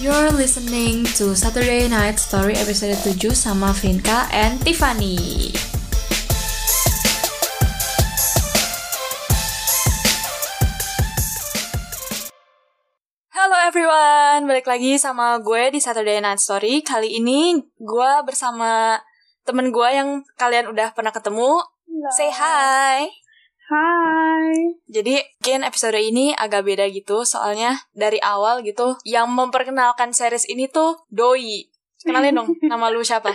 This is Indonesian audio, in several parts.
You're listening to Saturday Night Story episode 7 sama Vinka and Tiffany. Hello everyone, balik lagi sama gue di Saturday Night Story. Kali ini gue bersama temen gue yang kalian udah pernah ketemu. Say hi. Hai. Jadi mungkin episode ini agak beda gitu soalnya dari awal gitu yang memperkenalkan series ini tuh Doi. Kenalin dong nama lu siapa?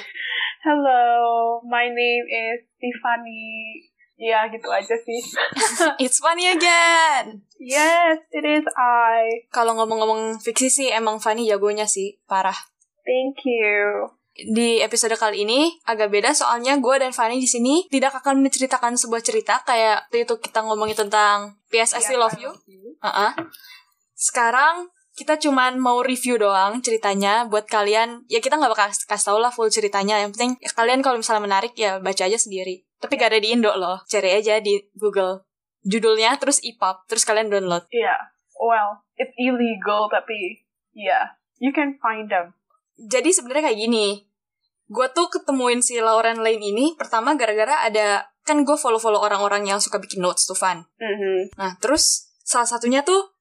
Hello, my name is Tiffany. Ya, gitu aja sih. It's funny again. Yes, it is I. Kalau ngomong-ngomong fiksi sih emang Fanny jagonya sih, parah. Thank you. Di episode kali ini agak beda soalnya gue dan Fanny di sini tidak akan menceritakan sebuah cerita kayak waktu itu kita ngomongin tentang PS I Iya, Still kan? Love You. Heeh. Sekarang kita cuman mau review doang ceritanya buat kalian. Ya kita nggak bakal kasih tau lah full ceritanya. Yang penting ya kalian kalau misalnya menarik ya baca aja sendiri. Tapi gak ada di Indo loh. Cari aja di Google. Judulnya terus EPUB, terus kalian download. Yeah. Well, it's illegal tapi yeah, you can find them. Jadi sebenarnya kayak gini. Gue tuh ketemuin si Lauren Lane ini pertama gara-gara ada kan gue follow-follow orang-orang yang suka bikin notes tuh Van. Mm-hmm. Nah, terus salah satunya tuh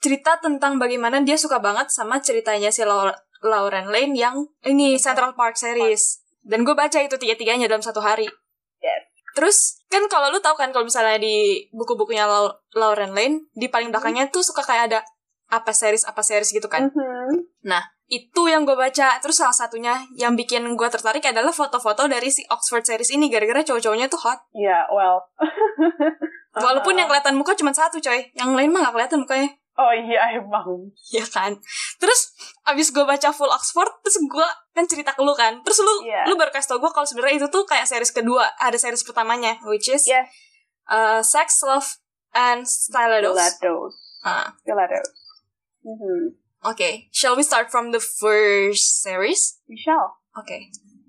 cerita tentang bagaimana dia suka banget sama ceritanya si Laura- Lauren Lane yang ini Central Park series. Dan gue baca itu tiga-tiganya dalam satu hari. Yes. Terus kan kalau lu tahu kan kalau misalnya di buku-bukunya Lau- Lauren Lane di paling Hmm. belakangnya tuh suka kayak ada apa series apa series gitu kan. Mm-hmm. Itu yang gue baca. Terus salah satunya yang bikin gue tertarik adalah foto-foto dari si Oxford series ini gara-gara cowok-cowoknya tuh hot. Yeah, well. Walaupun yang Uh-huh. kelihatan muka cuma satu coy. Yang lain mah gak kelihatan mukanya. Oh iya emang. ya kan terus abis gue baca full Oxford terus gue kan cerita ke lu kan terus lu Iya. lu baru kasih tau gue kalau sebenarnya itu tuh kayak series kedua ada series pertamanya which is Yes. uh, Sex Love and Stylados oke Gelatos. Ah. Gelatos. Mm-hmm. shall we start from the first series Michelle. oke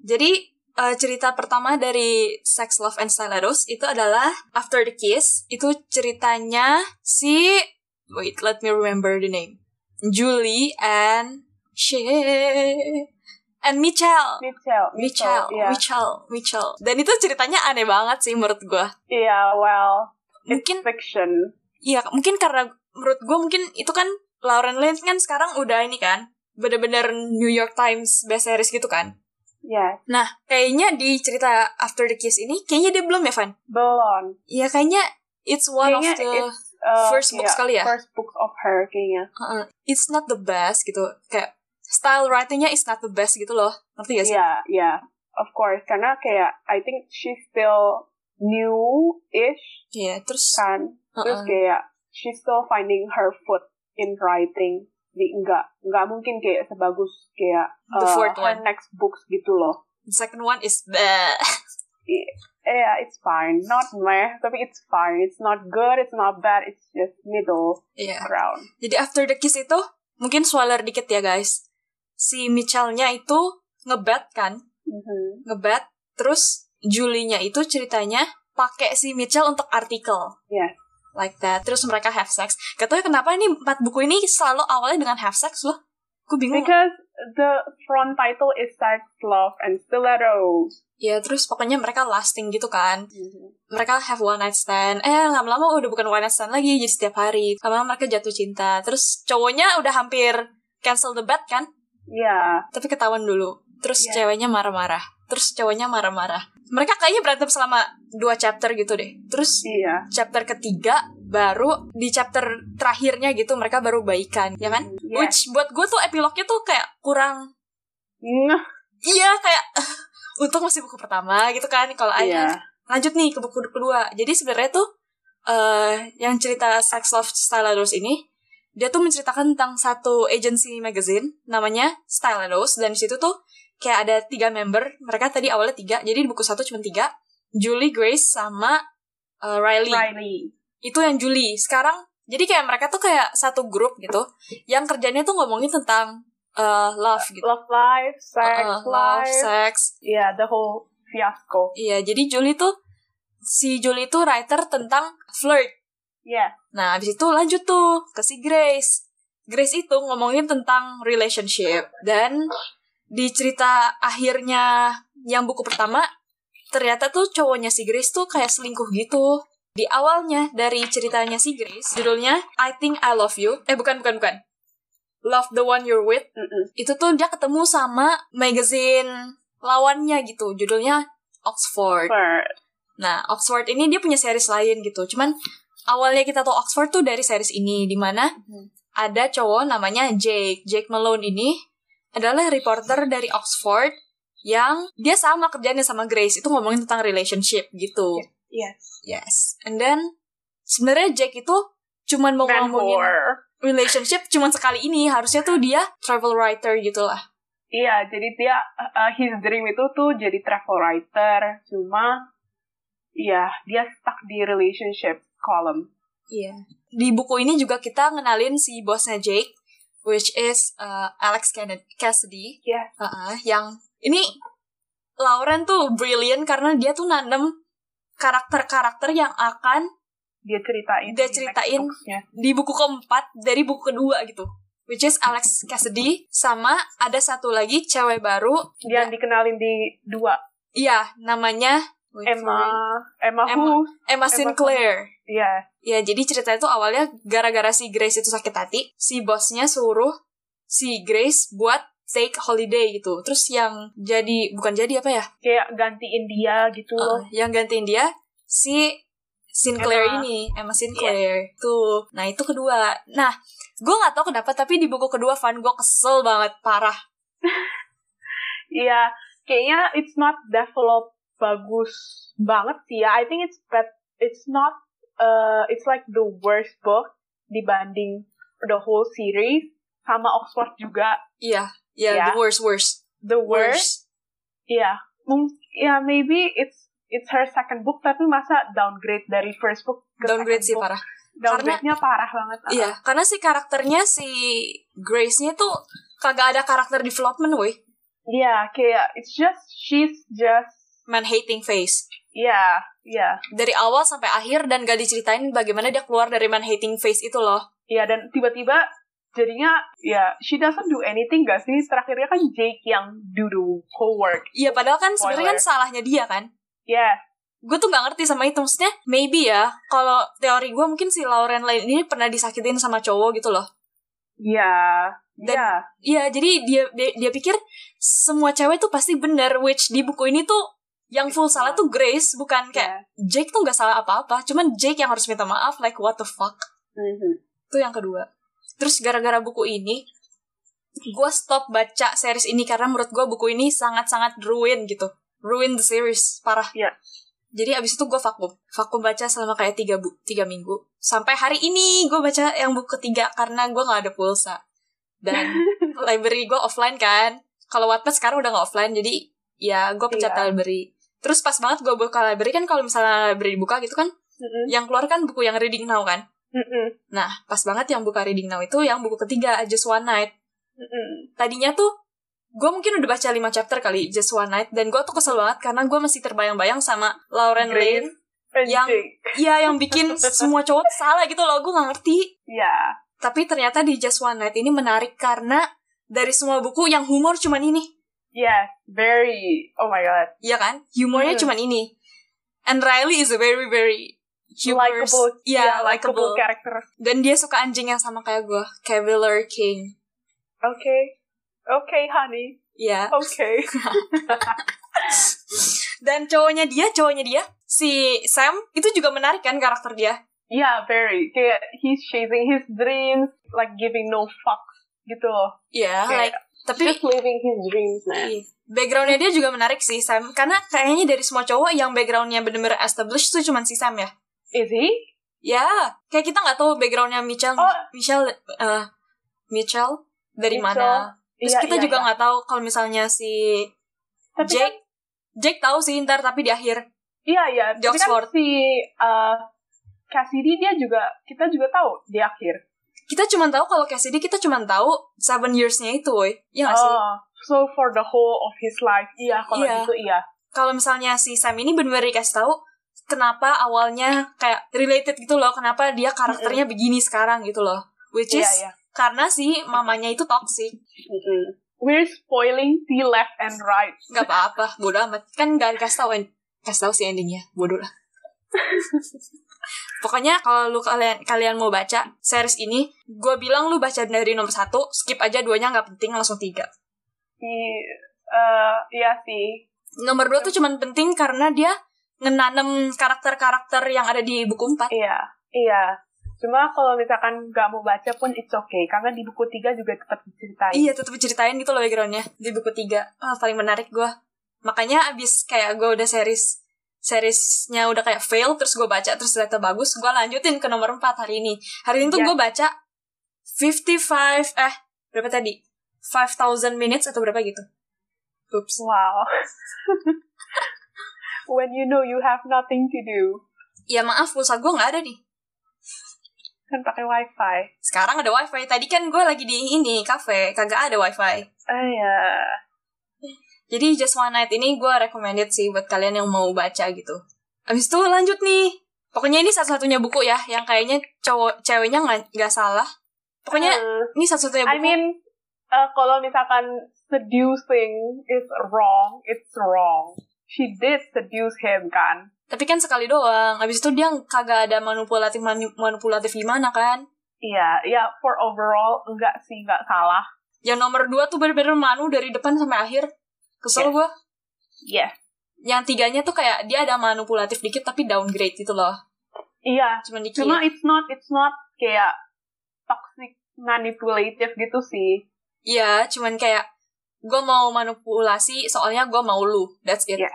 jadi uh, cerita pertama dari Sex Love and Stylados itu adalah After the Kiss itu ceritanya si wait let me remember the name Julie and she and Michelle Michelle. iya. Michelle, Yeah. Michelle, Michelle. Dan itu ceritanya aneh banget sih menurut gue. yeah, well. Mungkin, Fiction. ya mungkin karena menurut gue mungkin itu kan Lauren Lane kan sekarang udah ini kan, bener-bener New York Times best series gitu kan. Yes. Nah, kayaknya di cerita After the Kiss ini, kayaknya dia belum ya, Van? Belon. Ya kayaknya it's one Iya, of the, Kayaknya it's, uh, first books yeah, kali ya? First books of her kayaknya. Uh-uh. it's not the best gitu. Kayak style writingnya is not the best gitu loh. Ngerti gak sih? Yeah, yeah. Of course, karena kayak I think she's still new-ish Iya, terus kan. Terus Uh-uh. kayak she's still finding her foot in writing. Di enggak enggak mungkin kayak sebagus kayak The uh, fourth her one. next books gitu loh. Eh, the second one is bleh. Yeah, it's fine. Not meh, tapi it's fine. It's not good, it's not bad, it's just middle Iya. ground. Jadi after the kiss itu mungkin spoiler dikit ya guys. Si Michelle-nya itu ngebat kan, Mhm. ngebat. Terus Julie-nya itu ceritanya pakai si Michelle untuk artikel. Yes. Like that. Terus mereka have sex. Gak tau ya kenapa ini empat buku ini selalu awalnya dengan have sex loh. Gue bingung. Because the front title is Sex, Love, and Stilettos. Ya terus pokoknya mereka lasting gitu kan. Mhm. mereka have one night stand eh lama-lama udah bukan one night stand lagi jadi setiap hari lama-lama mereka jatuh cinta terus cowoknya udah hampir cancel the bet kan Ya, tapi ketahuan dulu terus Iya. ceweknya marah-marah terus cowoknya marah-marah mereka kayaknya berantem selama dua chapter gitu deh terus iya. chapter ketiga baru di chapter terakhirnya gitu mereka baru baikan ya kan Yes. which buat gue tuh epilognya tuh kayak kurang Ngeh, iya kayak untuk masih buku pertama gitu kan kalau I Iya. Have lanjut nih ke buku kedua. Jadi sebenarnya tuh eh yang cerita Sex Love Stylados ini dia tuh menceritakan tentang satu agency magazine namanya Stylados dan di situ tuh kayak ada tiga member. Mereka tadi awalnya tiga, jadi di buku satu cuma tiga. Julie, Grace, sama eh, Riley. Riley. Itu yang Julie. Sekarang jadi kayak mereka tuh kayak satu grup gitu yang kerjanya tuh ngomongin tentang eh, love gitu. Love life, sex Eh, eh, love, life. sex, Yeah, the whole fiasco. Iya, jadi Julie tuh si Julie tuh writer tentang flirt. Yes. Nah, habis itu lanjut tuh ke si Grace. Grace itu ngomongin tentang relationship dan di cerita akhirnya yang buku pertama ternyata tuh cowoknya si Grace tuh kayak selingkuh gitu. Di awalnya dari ceritanya si Grace, judulnya I Think I Love You. Eh bukan bukan bukan. Love the One You're With. Mm-mm. Itu tuh dia ketemu sama magazine lawannya gitu. Judulnya Oxford. Per- Nah, Oxford ini dia punya series lain gitu. Cuman awalnya kita tahu Oxford tuh dari series ini di mana Mhm. ada cowok namanya Jake. Jake Malone ini adalah reporter dari Oxford yang dia sama kerjanya sama Grace itu ngomongin tentang relationship gitu. Yes. Yes. And then sebenarnya Jake itu cuman mau Dan ngomongin horror. relationship cuman sekali ini. Harusnya tuh dia travel writer gitu lah. Iya, jadi dia uh, his dream itu tuh jadi travel writer, cuma iya dia stuck di relationship column. Iya. Di buku ini juga kita ngenalin si bosnya Jake, which is uh, Alex Canad- Cassidy. Yes. Uh-uh, yang ini Lauren tuh brilliant karena dia tuh nanem karakter-karakter yang akan Dia ceritain. Dia di ceritain. textbooks-nya. di buku keempat dari buku kedua gitu. Which is Alex Cassidy sama ada satu lagi cewek baru. Dia dikenalin di dua Iya, namanya wait for it. Emma Emma, Emma. Who. Emma Sinclair. Iya. Ya, jadi ceritanya itu awalnya gara-gara si Grace itu sakit hati, si bosnya suruh si Grace buat take holiday gitu. Terus yang jadi bukan jadi apa ya? Kayak gantiin dia gitu Uh, loh. yang gantiin dia si Sinclair Emma. Iya. ini, Emma Sinclair. Tuh. Nah, itu kedua. Nah, gue nggak tahu kenapa tapi di buku kedua Van gue kesel banget parah. Iya, kayaknya it's not develop bagus banget sih ya. I think it's bet it's not uh, it's like the worst book dibanding the whole series sama Oxford juga Iya, iya Iya. the worst worst. the worst. Iya, mung ya maybe it's it's her second book tapi masa downgrade dari first book ke Downgrade sih second book. parah. Downgrade-nya parah banget. Iya, karena si karakternya si Grace-nya tuh kagak ada karakter development, weh. Iya, kayak it's just she's just Man hating face. ya ya dari awal sampai akhir dan gak diceritain bagaimana dia keluar dari man hating face itu loh. Iya dan tiba-tiba jadinya ya she doesn't do anything gak sih terakhirnya kan Jake yang do the whole work Iya padahal kan sebenarnya kan Spoiler. salahnya dia kan. yeah Gue tuh gak ngerti sama itu maksudnya. Maybe ya kalau teori gue mungkin si Lauren Lane ini pernah disakitin sama cowok gitu loh. ya Dan- ya Iya jadi dia dia, dia pikir semua cewek tuh pasti bener which di buku ini tuh yang full salah tuh Grace bukan Iya. ya. kayak Jake tuh gak salah apa-apa. Cuman Jake yang harus minta maaf like what the fuck. Mm-hmm. Itu yang kedua. Terus gara-gara buku ini, gue stop baca series ini karena menurut gue buku ini sangat-sangat ruin gitu. Ruin the series, parah. Iya. Jadi abis itu gue vakum. Vakum baca selama kayak tiga, bu tiga minggu. Sampai hari ini gue baca yang buku ketiga karena gue gak ada pulsa. Dan library gue offline kan. Kalau Wattpad sekarang udah gak offline, jadi ya gue pencet Iya. library. Terus pas banget gue buka library kan kalau misalnya library dibuka gitu kan, Mm-mm. yang keluar kan buku yang reading now kan. Mm-mm. Nah, pas banget yang buka reading now itu yang buku ketiga, Just One Night. Mm-mm. Tadinya tuh, gue mungkin udah baca 5 chapter kali Just One Night, dan gue tuh kesel banget karena gue masih terbayang-bayang sama Lauren Grace. Lane. And Yang- Jake Iya, yang bikin semua cowok tuh salah gitu loh, gue gak ngerti. ya Tapi ternyata di Just One Night ini menarik karena dari semua buku yang humor cuman ini. yes ya, very oh my god Iya kan? Humornya Hmm. cuman ini. And Riley is a very, very humorous. likable Iya, ya, likable. character oke Dan dia suka anjing yang sama kayak gue, Cavalier King. oke honey Iya. oke Dan cowoknya dia, cowoknya dia, si Sam, itu juga menarik kan karakter dia. yeah very kayak he's chasing his dreams like giving no fucks gitu loh Iya, Iya. like, tapi just living his dreams man iya. backgroundnya dia juga menarik sih, Sam. Karena kayaknya dari semua cowok yang backgroundnya bener-bener established tuh cuman si Sam ya. is he Ya, kayak kita nggak tahu backgroundnya Michelle, Oh. Michelle, eh, Michelle dari Michelle. mana. Terus Iya, kita iya, juga iya. nggak tahu kalau misalnya si Tapi kan- Jake, Jake tahu sih ntar tapi di akhir. Iya iya, Di tapi Oxford. kan si uh, Cassidy dia juga kita juga tahu di akhir. Kita cuma tahu kalau Cassidy kita cuma tahu seven years-nya itu, woy. Iya nggak sih? Oh, so for the whole of his life, iya kalau Iya. gitu iya. kalau misalnya si Sam ini benar-benar dikasih tahu kenapa awalnya kayak related gitu loh, kenapa dia karakternya begini sekarang gitu loh. Which is Iya iya. karena si mamanya itu toxic Mm-mm. We're spoiling the left and right. nggak apa-apa bodoh amat kan nggak dikasih tahu en- kasih tahu sih endingnya bodoh lah pokoknya kalau lu kalian kalian mau baca series ini gue bilang lu baca dari nomor satu skip aja duanya nggak penting langsung tiga Iya, eh, iya sih. nomor dua tuh cuman penting karena dia ngenanam karakter-karakter yang ada di buku empat Iya, iya. Cuma kalau misalkan nggak mau baca pun it's okay karena di buku tiga juga tetap diceritain. Iya tetep ceritain gitu loh backgroundnya Di buku 3 Ah, Paling menarik gue Makanya abis kayak gue udah series Seriesnya udah kayak fail Terus gue baca Terus ternyata bagus Gue lanjutin ke nomor 4 hari ini Hari ini tuh Iya. gue baca 55 Eh berapa tadi 5000 minutes atau berapa gitu Oops Wow. When you know you have nothing to do, Ya maaf pulsa gue gak ada nih kan pakai wifi. Sekarang ada wifi Tadi kan gue lagi di ini Cafe Kagak ada wifi Ah ya. Jadi Just One Night ini gue recommended sih buat kalian yang mau baca gitu. Abis itu lanjut nih. Pokoknya ini satu-satunya buku ya, yang kayaknya cowok ceweknya nggak nggak salah. Pokoknya Eh, ini satu-satunya buku. I mean, eh, kalau misalkan seducing is wrong, it's wrong. She did seduce him kan? tapi kan sekali doang. Abis itu dia kagak ada manipulatif mani- manipulatif gimana kan? Iya, ya for overall enggak sih enggak salah. Yang nomor dua tuh bener-bener manu dari depan sampai akhir. Kesel Yes. gue. Yes. Yang tiganya tuh kayak dia ada manipulatif dikit tapi downgrade gitu loh. Iya, Cuman dikit. Cuma it's not it's not kayak toxic manipulative gitu sih. Iya, cuman kayak gue mau manipulasi soalnya gue mau lu. That's it. Iya.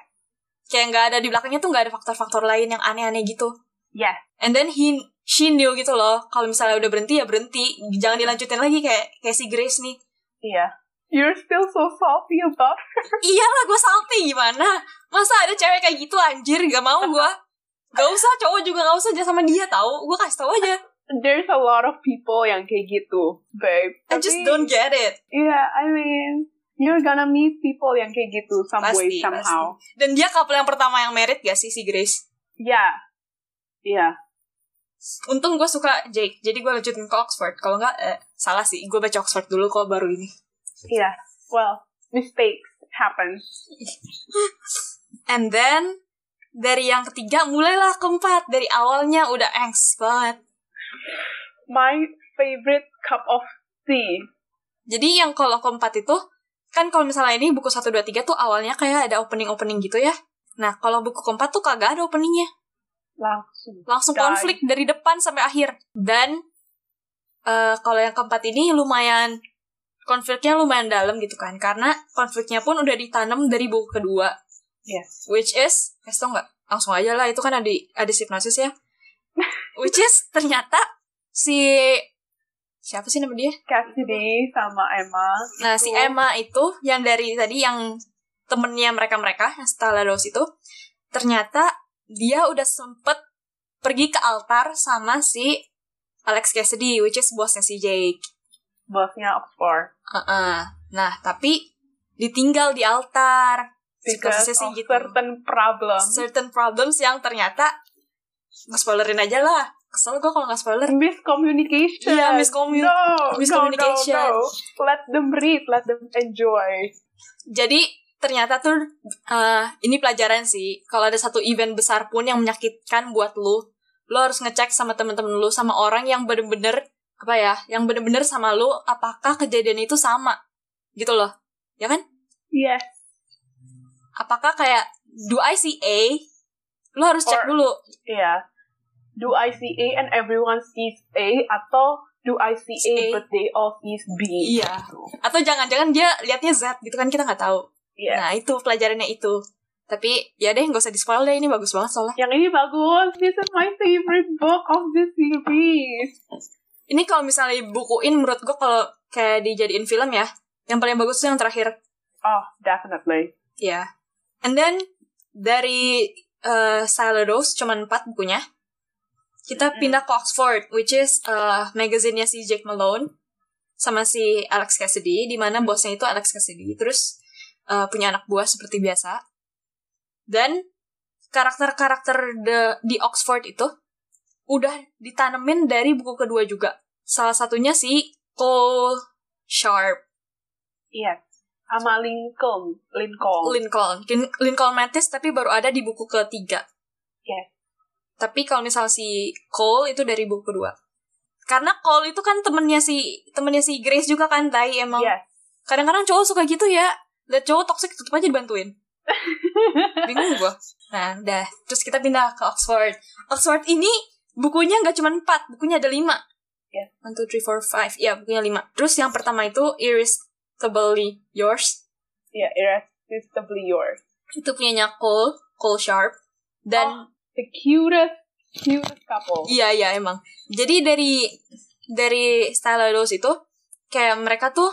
Kayak nggak ada di belakangnya tuh nggak ada faktor-faktor lain yang aneh-aneh gitu. Yes. And then he she knew gitu loh. Kalau misalnya udah berhenti ya berhenti. Jangan dilanjutin lagi kayak kayak si Grace nih. Iya. You're still so salty about Iyalah gue salty gimana? Masa ada cewek kayak gitu anjir gak mau gue. Gak usah cowok juga gak usah jangan sama dia tahu. Gue kasih tahu aja. there's a lot of people yang kayak gitu, babe. I just don't get it. Yeah, I mean, you're gonna meet people yang kayak gitu some way Pasti, somehow. pasti. Dan dia couple yang pertama yang merit gak sih si Grace? Yeah. Yeah. Untung gue suka Jake, jadi gue lanjutin ke Oxford. Kalau nggak, eh, salah sih. Gue baca Oxford dulu kok baru ini. Yeah. Well, mistakes happen. And then, dari yang ketiga, mulailah keempat. Dari awalnya udah angst banget. My favorite cup of tea. Jadi yang kalau keempat itu, kan kalau misalnya ini buku 1, 2, 3 tuh awalnya kayak ada opening-opening gitu ya. Nah, kalau buku keempat tuh kagak ada openingnya. Langsung. Langsung Die. konflik dari depan sampai akhir. Dan, eh, kalau yang keempat ini lumayan, konfliknya lumayan dalam gitu kan. Karena konfliknya pun udah ditanam dari buku kedua. Yes. which is kasih tau nggak langsung aja lah itu kan ada ada hipnosis ya which is ternyata si siapa sih nama dia Cassidy sama Emma. nah si Betul. Emma itu yang dari tadi yang temennya mereka mereka yang setelah Laos itu ternyata dia udah sempet pergi ke altar sama si Alex Cassidy which is bosnya si Jake Bosnya Oxford. Heeh. nah tapi ditinggal di altar because Siklusnya sih of gitu. certain problem. certain problems yang ternyata nggak spoilerin aja lah kesel gue kalau nggak spoiler miscommunication. Iya, miscommu- No, miscommunication. No, no, no. Let them read, let them enjoy. jadi ternyata tuh eh, ini pelajaran sih kalau ada satu event besar pun yang menyakitkan buat lu lu harus ngecek sama temen-temen lu sama orang yang bener-bener apa ya yang bener-bener sama lu apakah kejadian itu sama gitu loh ya kan Yes. apakah kayak do I see A lu harus cek Or- dulu Yeah. Do I see A and everyone sees A? Atau do I see A, A. but they all sees B? iya atau jangan-jangan dia liatnya Z gitu kan kita nggak tahu Yeah. Nah, itu pelajarannya itu. Tapi ya deh nggak usah di spoil deh ini bagus banget soalnya. Yang ini bagus. This is my favorite book of this series. Ini kalau misalnya dibukuin menurut gue kalau kayak dijadiin film ya, yang paling bagus tuh yang terakhir. Oh, definitely. Ya. And then dari eh Salados cuman 4 bukunya. Kita Mm-mm. pindah ke Oxford, which is eh magazine-nya si Jack Malone sama si Alex Cassidy, di mana bosnya itu Alex Cassidy. Terus eh, punya anak buah seperti biasa. Dan karakter-karakter de- di Oxford itu udah ditanemin dari buku kedua juga. Salah satunya si Cole Sharp, Yes. Sama Lincoln. Lincoln. Lincoln, Lin- Lincoln Mattis tapi baru ada di buku ketiga. Yes. Tapi kalau misal si Cole itu dari buku kedua. Karena Cole itu kan temennya si temennya si Grace juga kan, Tai emang. Yes. Kadang-kadang cowok suka gitu ya. Lihat cowok toxic tutup aja dibantuin. Bingung gua. Nah, udah. Terus kita pindah ke Oxford. Oxford ini bukunya nggak cuma 4, bukunya ada 5. Yes. 1, 2, 3, 4, 5. Ya, bukunya 5. Terus yang pertama itu Irresistibly Yours. Ya, irresistibly yours. Itu punyanya Cole, Cole Sharp. Dan Oh, the cutest, cutest couple. Iya iya emang. Jadi dari dari Stylados itu kayak mereka tuh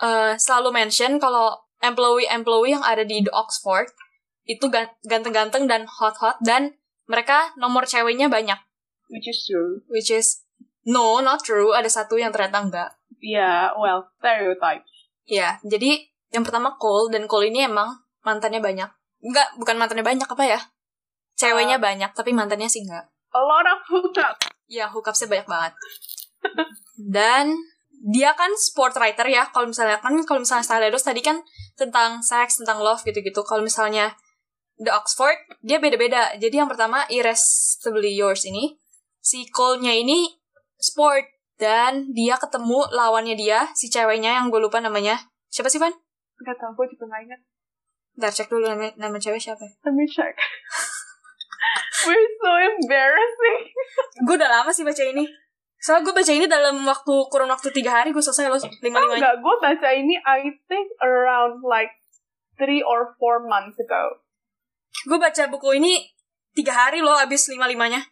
eh, selalu mention kalau employee employee yang ada di The Oxford itu gan- ganteng-ganteng dan hot-hot dan mereka nomor ceweknya banyak Which is true. which is no not true ada satu yang ternyata enggak. Yeah, well, stereotype. Iya, jadi yang pertama Cole dan Cole ini emang mantannya banyak. Enggak, bukan mantannya banyak apa ya? Ceweknya banyak tapi mantannya sih enggak. A lot of hookup. Ya, hookupsnya banyak banget. Dan dia kan sport writer ya. Kalau misalnya kan kalau misalnya Stylados tadi kan tentang seks, tentang love gitu-gitu. Kalau misalnya The Oxford, dia beda-beda. Jadi yang pertama Irresistibly Yours ini, si Cole-nya ini sport dan dia ketemu lawannya dia, si ceweknya yang gue lupa namanya. Siapa sih, Van? Gak tau, gue juga gak ingat. Ntar cek dulu nama, nama cewek siapa. ya? Let me check. We're so embarrassing. Gue udah lama sih baca ini. Soalnya gue baca ini dalam waktu kurun waktu tiga hari gue selesai loh Tau lima-limanya. gak, gue baca ini I think around like three or four months ago. Gue baca buku ini tiga hari loh abis lima-limanya.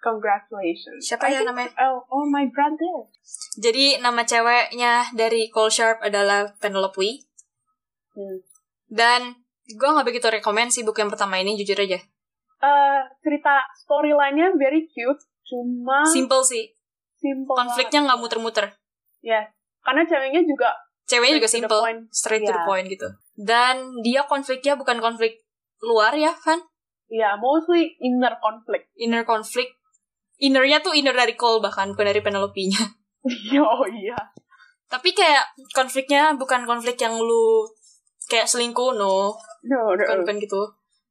Congratulations. Siapa I ya think- namanya? Oh, oh my brother. Jadi nama ceweknya dari Cole Sharp adalah Penelope Wee. Hmm. Dan gue nggak begitu rekomen sih buku yang pertama ini, jujur aja. Eh, cerita storyline-nya very cute, cuma Simple sih. simple Konfliknya nggak banget. muter-muter. Yes. Karena ceweknya juga Ceweknya juga Straight to the simple. point. Straight to the Iya. point gitu. Dan dia konfliknya bukan konflik luar ya, Van? ya mostly inner conflict. Inner konflik. Innernya tuh inner dari Cole bahkan, bukan dari Penelope-nya. oh iya. Tapi kayak konfliknya bukan konflik yang lu kayak selingkuh, no. No, no. bukan bukan gitu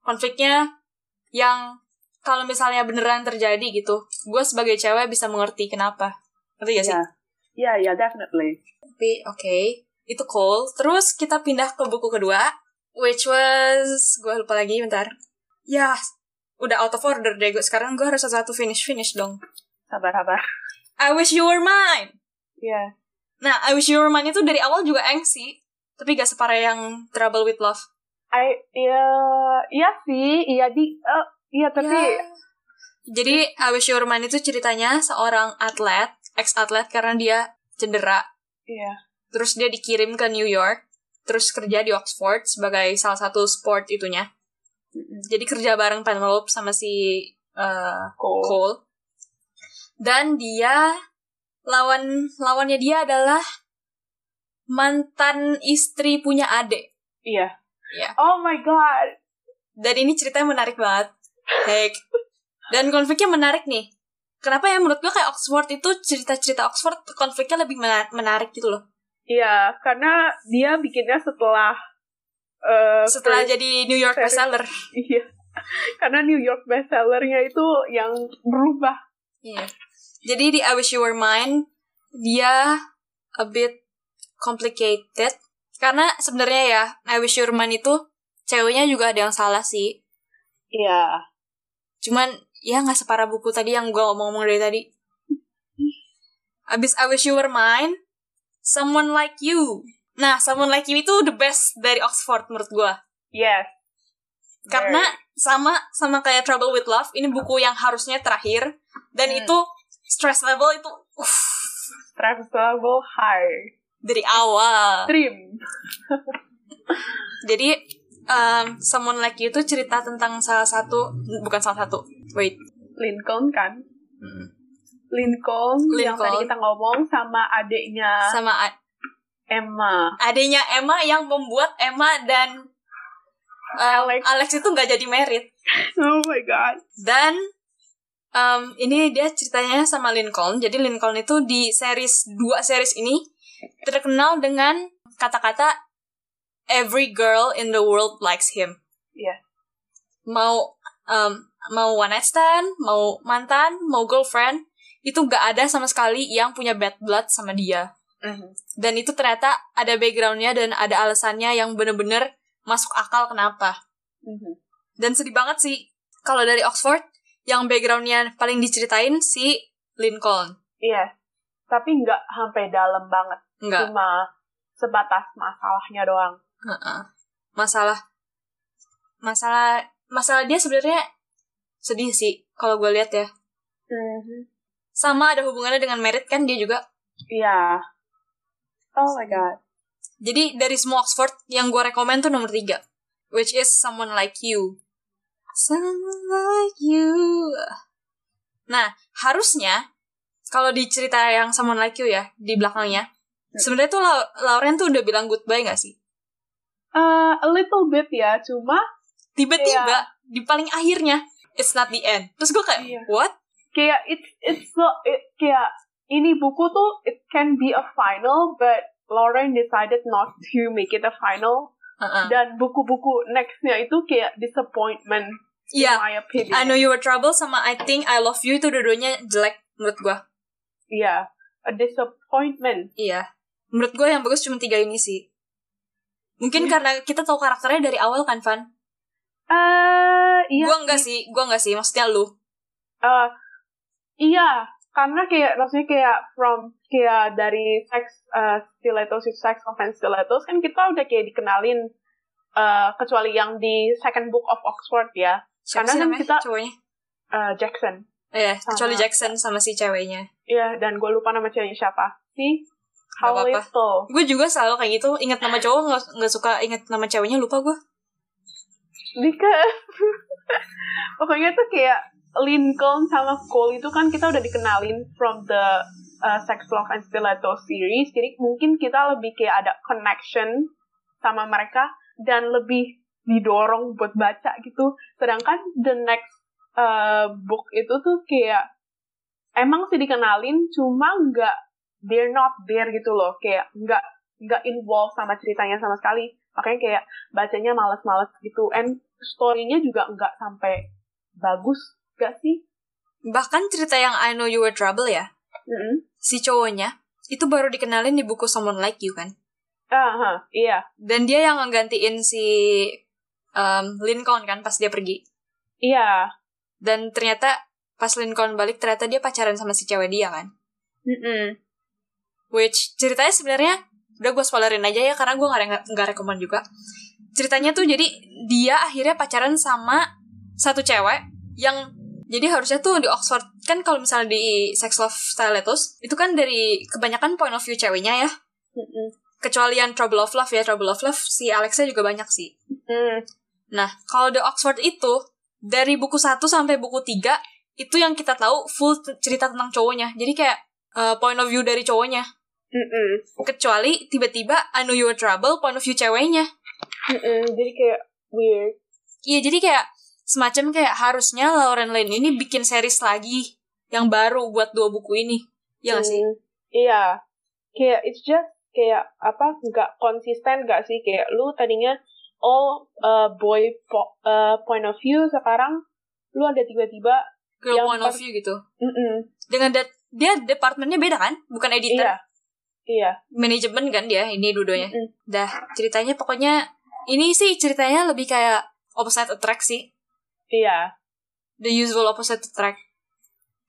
konfliknya yang kalau misalnya beneran terjadi gitu gue sebagai cewek bisa mengerti kenapa ngerti gak ya sih Yeah. Yeah, yeah, definitely. tapi oke itu Cole terus kita pindah ke buku kedua which was gue lupa lagi bentar ya udah out of order deh gue sekarang gue harus satu finish finish dong Sabar, sabar. I wish you were mine Yeah. nah I wish you were mine itu dari awal juga angsy tapi gak separah yang trouble with love I ya iya sih, iya di eh, iya tapi Ya. Jadi Awish Yurman itu ceritanya seorang atlet, ex-atlet karena dia cedera. iya. Terus dia dikirim ke New York, terus kerja di Oxford sebagai salah satu sport itunya. Jadi kerja bareng Penelope sama si eh, Cool. Cole. Dan dia lawan lawannya dia adalah mantan istri punya adik. Iya. Iya. Oh my god. Dan ini ceritanya menarik banget. Heck. Dan konfliknya menarik nih. Kenapa ya menurut gue kayak Oxford itu cerita-cerita Oxford konfliknya lebih mena- menarik gitu loh. Iya, karena dia bikinnya setelah eh Setelah first- jadi New York Fair. bestseller. Iya. Karena New York bestsellernya itu yang berubah. Iya. Jadi di I Wish You Were Mine dia a bit complicated karena sebenarnya ya I Wish You Were Mine itu ceweknya juga ada yang salah sih. Iya. Cuman ya nggak separah buku tadi yang gue ngomong-ngomong dari tadi. Abis I Wish You Were Mine, Someone Like You. Nah, Someone Like You itu the best dari Oxford menurut gue. Yes. Karena sama sama kayak Trouble with Love, ini buku yang harusnya terakhir. Dan Hmm. itu stress level itu uff, Travis level high. dari awal. Trim. Jadi um, Someone Like You itu cerita tentang salah satu, bukan salah satu, wait. Lincoln kan? Lincoln, yang Lincoln. tadi kita ngomong sama adiknya Sama a- Emma. adanya Emma yang membuat Emma dan um, Alex. Alex itu nggak jadi merit Oh my god. dan em, ini dia ceritanya sama Lincoln. Jadi Lincoln itu di series dua series ini terkenal dengan kata-kata every girl in the world likes him. Iya. Mau em, mau one night stand, mau mantan, mau girlfriend, itu gak ada sama sekali yang punya bad blood sama dia dan itu ternyata ada backgroundnya dan ada alasannya yang bener-bener masuk akal kenapa Mm-hmm. dan sedih banget sih kalau dari Oxford yang backgroundnya paling diceritain si Lincoln Iya. Tapi nggak sampai dalam banget. enggak Cuma sebatas masalahnya doang. Heeh. masalah masalah masalah dia sebenarnya sedih sih kalau gue lihat ya sama ada hubungannya dengan merit kan dia juga Iya. Oh my god. Jadi dari semua Oxford yang gue rekomend tuh nomor tiga, which is Someone Like You. Someone Like You. Nah harusnya kalau di cerita yang Someone Like You ya di belakangnya, sebenarnya tuh Lau- Lauren tuh udah bilang goodbye gak sih? Eh, a little bit ya, cuma Tiba-tiba di paling akhirnya it's not the end. Terus gue kayak Iya. what? kayak it's it's so- it- kayak ini buku tuh it can be a final, but Lauren decided not to make it a final. Heeh. Dan buku-buku nextnya itu kayak disappointment Iya. in my opinion. I know you were trouble sama I think I love you itu dua-duanya jelek menurut gue. Iya, a disappointment. Iya. Menurut gue yang bagus cuma tiga ini sih. Iya. Mungkin karena kita tahu karakternya dari awal kan, Van? Eh, iya. Gue enggak sih, gue enggak sih. Maksudnya lu. Eh, iya, karena kayak maksudnya kayak from kayak dari sex eh, stilettos to sex offense stilettos kan kita udah kayak dikenalin eh, kecuali yang di second book of Oxford ya Siapa Karena sih kan namanya kita- Ah, cowoknya? eh, Jackson. Iya, kecuali Sama- Jackson sama si ceweknya. Iya, dan gue lupa nama ceweknya siapa. Si Gak Howell apa-apa. itu. Gue juga selalu kayak gitu. Ingat nama cowok nggak nggak suka ingat nama ceweknya lupa gue. Because pokoknya tuh kayak Lincoln sama Cole itu kan kita udah dikenalin from the uh, Sex Love and Stiletto series, jadi mungkin kita lebih kayak ada connection sama mereka dan lebih didorong buat baca gitu. Sedangkan the next uh, book itu tuh kayak emang sih dikenalin, cuma nggak they're not there gitu loh, kayak nggak nggak involved sama ceritanya sama sekali. Makanya kayak bacanya males-males gitu and story-nya juga nggak sampai bagus gak sih Bahkan cerita yang I Know You Were Trouble ya, Mm-mm. si cowoknya itu baru dikenalin di buku Someone Like You kan. Aha, iya Dan dia yang ngegantiin si um, Lincoln kan pas dia pergi. iya Dan ternyata pas Lincoln balik ternyata dia pacaran sama si cewek dia kan. Mm-mm. Which ceritanya sebenarnya udah gue spoilerin aja ya karena gue nggak re- nggak rekomend juga. Ceritanya tuh jadi dia akhirnya pacaran sama satu cewek yang jadi harusnya tuh di Oxford kan kalau misalnya di Sex Love Stilettos itu kan dari kebanyakan point of view ceweknya ya. Mm-mm. Kecuali yang Trouble of Love ya, Trouble of Love si Alexnya juga banyak sih. Mm. Nah, kalau The Oxford itu dari buku 1 sampai buku 3 itu yang kita tahu full t- cerita tentang cowoknya. Jadi kayak uh, point of view dari cowoknya. Mm-mm. Kecuali tiba-tiba I know you were trouble point of view ceweknya. Mm-mm. jadi kayak weird Iya, jadi kayak semacam kayak harusnya Lauren Lane ini bikin series lagi yang baru buat dua buku ini. Iya gak sih? Mm. iya kayak it's just kayak apa nggak konsisten gak sih kayak lu tadinya oh uh, boy po- uh, point of view sekarang lu ada tiba-tiba Girl Yang point of per- view gitu. Mm-mm. Dengan dat- dia departemennya beda kan? Bukan editor, iya Hmm. iya manajemen kan dia ini dua-duanya. Mm-mm. Dah, ceritanya pokoknya ini sih ceritanya lebih kayak opposite attract sih. iya The usual opposite attract.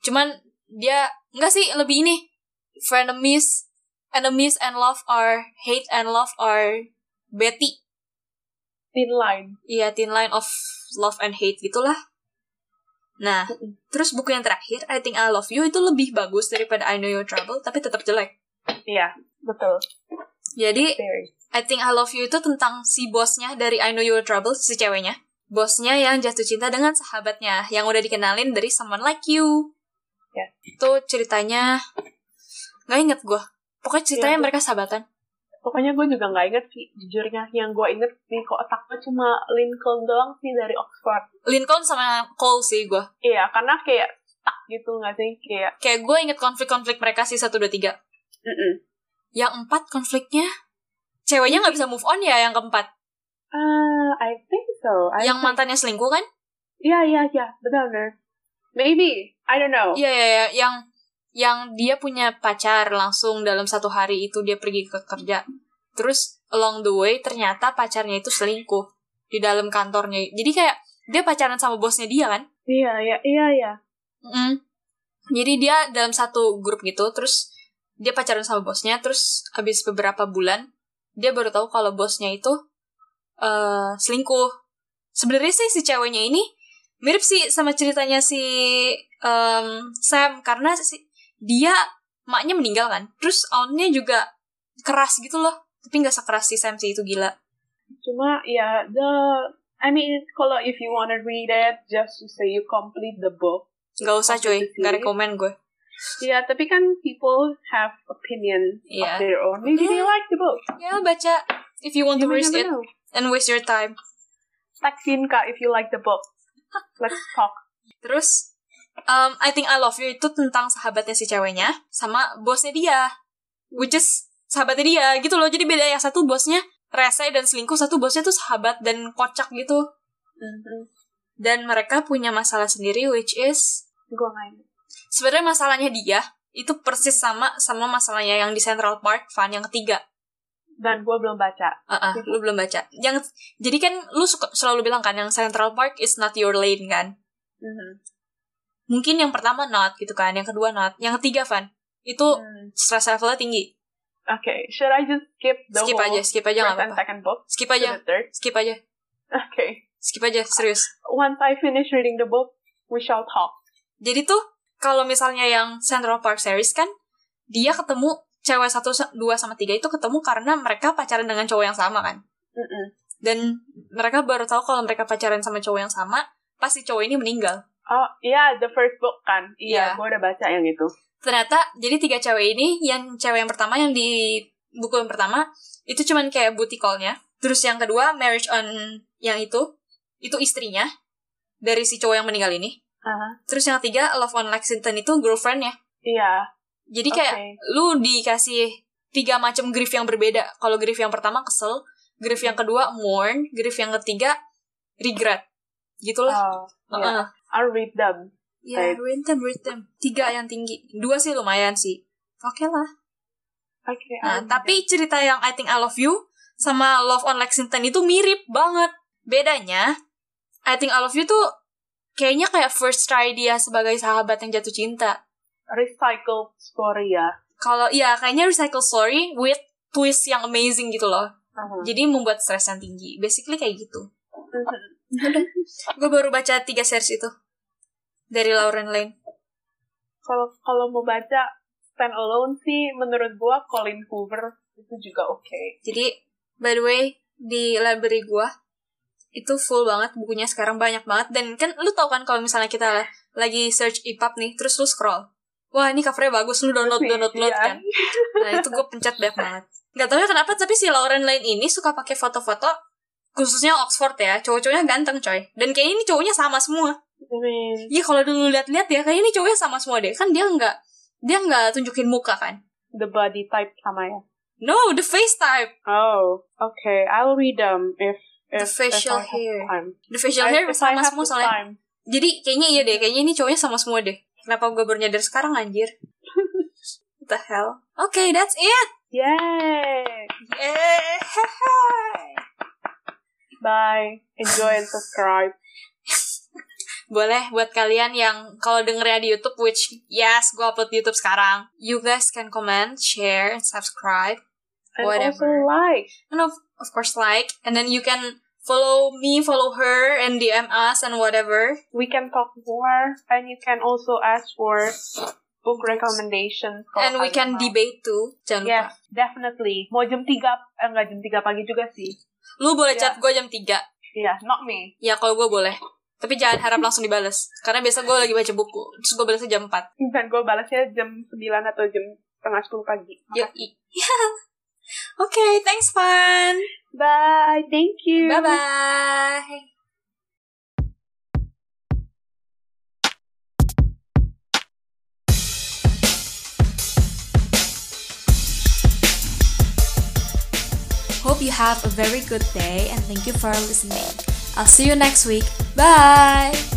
Cuman dia enggak sih lebih ini frenemies, enemies and love are hate and love are Betty. thin line Iya, thin line of love and hate gitulah. Nah, Mm-mm. terus buku yang terakhir I Think I Love You itu lebih bagus daripada I Know Your Trouble tapi tetap jelek. iya betul Jadi Very. I Think I Love You itu tentang si bosnya dari I Know You're Trouble, si ceweknya. Bosnya yang jatuh cinta dengan sahabatnya, yang udah dikenalin dari Someone Like You. Ya. Itu ceritanya, nggak inget gue. Pokoknya ceritanya Ya, gua- mereka sahabatan. Pokoknya gue juga nggak inget sih, jujurnya. Yang gue inget di otak gue cuma Lincoln doang sih dari Oxford. Lincoln sama Cole sih gue. Iya, karena kayak stuck gitu nggak sih kayak Kayak gue inget konflik-konflik mereka sih satu dua tiga. mm-mm. Yang empat konfliknya ceweknya nggak bisa move on ya yang keempat. Ah, I think so I yang mantannya selingkuh kan? ya ya ya benar benar maybe I don't know Iya iya iya. yang yang dia punya pacar langsung dalam satu hari itu dia pergi ke kerja. Terus along the way ternyata pacarnya itu selingkuh di dalam kantornya. Jadi kayak dia pacaran sama bosnya dia kan? iya iya iya iya Mm. Jadi dia dalam satu grup gitu, terus dia pacaran sama bosnya, terus habis beberapa bulan dia baru tahu kalau bosnya itu eh selingkuh. Sebenarnya sih si ceweknya ini mirip sih sama ceritanya si em, Sam karena si, dia maknya meninggal kan, terus onnya juga keras gitu loh, tapi nggak sekeras si Sam sih itu gila. cuma ya the I mean kalau if you wanna read it just to say you complete the book Nggak usah cuy, Maksudnya sih- nggak rekomen gue. ya tapi kan people have opinion Iya. of their own maybe they like the book Ya baca if you want to You may risk never it know. and waste your time. Textin kak if you like the book let's talk Terus um, I Think I Love You itu tentang sahabatnya si ceweknya sama bosnya dia. Which is sahabatnya dia gitu loh. Jadi beda yang satu bosnya rese dan selingkuh, satu bosnya tuh sahabat dan kocak gitu. Mm-hmm. Dan mereka punya masalah sendiri which is gue nggak ingat sebenarnya masalahnya dia itu persis sama sama masalahnya yang di Central Park Fun yang ketiga. dan gue belum baca Ah, ah, lu belum baca. Yang jadi kan lu suka, selalu bilang kan yang Central Park is not your lane kan. Mm-hmm. Mungkin yang pertama not gitu kan, yang kedua not, yang ketiga Van. Itu Hmm. stress levelnya tinggi. okay should I just skip the Skip whole aja, skip aja first nggak and apa-apa. second book Skip to aja, the third skip aja, okay skip aja, serius. once I finish reading the book we shall talk Jadi tuh, kalau misalnya yang Central Park series kan, dia ketemu cewek satu, sa- dua, sama tiga itu ketemu karena mereka pacaran dengan cowok yang sama kan. Mm-mm. Dan mereka baru tahu kalau mereka pacaran sama cowok yang sama, pasti cowok ini meninggal. oh iya the first book kan Iya. iya gue udah baca yang itu ternyata jadi tiga cewek ini yang cewek yang pertama yang di buku yang pertama itu cuman kayak booty call-nya terus yang kedua marriage on yang itu itu istrinya dari si cowok yang meninggal ini Aha. terus yang ketiga love on Lexington itu girlfriendnya iya jadi kayak Okay. lu dikasih tiga macam grief yang berbeda kalau grief yang pertama kesel grief yang kedua mourn grief yang ketiga regret gitulah oh lah iya. I'll read them ya Baik. read them read them tiga yang tinggi dua sih lumayan sih oke lah okay Nah, I'll read tapi cerita yang I Think I Love You sama Love on Lexington itu mirip banget. Bedanya, I Think I Love You tuh kayaknya kayak first try dia sebagai sahabat yang jatuh cinta. them. recycled story ya Kalau ya kayaknya recycle story with twist yang amazing gitu loh. Aha. Jadi membuat stres yang tinggi. Basically kayak gitu. Mm-hmm. Mhm. Gue baru baca tiga series itu dari Lauren Lane. kalau kalau mau baca stand alone sih menurut gua Colin Hoover itu juga oke Jadi by the way di library gua itu full banget bukunya sekarang banyak banget dan kan lu tau kan kalau misalnya kita lagi search E EPUB nih terus lu scroll wah ini covernya bagus lu download download download Iya. kan nah itu gue pencet banyak banget nggak tahu ya kenapa tapi si Lauren Lane ini suka pakai foto-foto khususnya Oxford ya cowok-cowoknya ganteng coy dan kayak ini cowoknya sama semua I mean, iya kalau dulu lihat-lihat ya kayak ini cowoknya sama semua deh kan dia nggak dia nggak tunjukin muka kan the body type sama ya no the face type oh okay I'll read them if The if, if facial I have hair. time the facial I- hair if I sama have semua the soalnya time. Jadi kayaknya iya deh, kayaknya ini cowoknya sama semua deh. Kenapa gue baru nyadar sekarang anjir? What the hell? Oke, that's it. Yay! Yeay. Bye. Enjoy and subscribe. Boleh buat kalian yang kalau dengernya di YouTube, which yes, gue upload di YouTube sekarang. You guys can comment, share, and subscribe. And also Whatever. like. And of, of course like. And then you can follow me, follow her, and DM us, and whatever. We can talk more. And you can also ask for book recommendations. kalau and we kalian can mau. debate too. Jangan lupa. Yes, definitely. Mau jam 3, eh, enggak jam 3 pagi juga sih. Lu boleh Yeah. chat gue jam 3. Iya, not me. Ya kalau gue boleh. Tapi jangan harap langsung dibales. Karena biasa gue lagi baca buku. Terus gue balasnya jam 4. Dan gue balasnya jam 9 atau jam setengah 10 pagi. Yuk. Oke, thanks Fan. Bye, thank you. Bye-bye. hope you have a very good day and thank you for listening. I'll see you next week. Bye!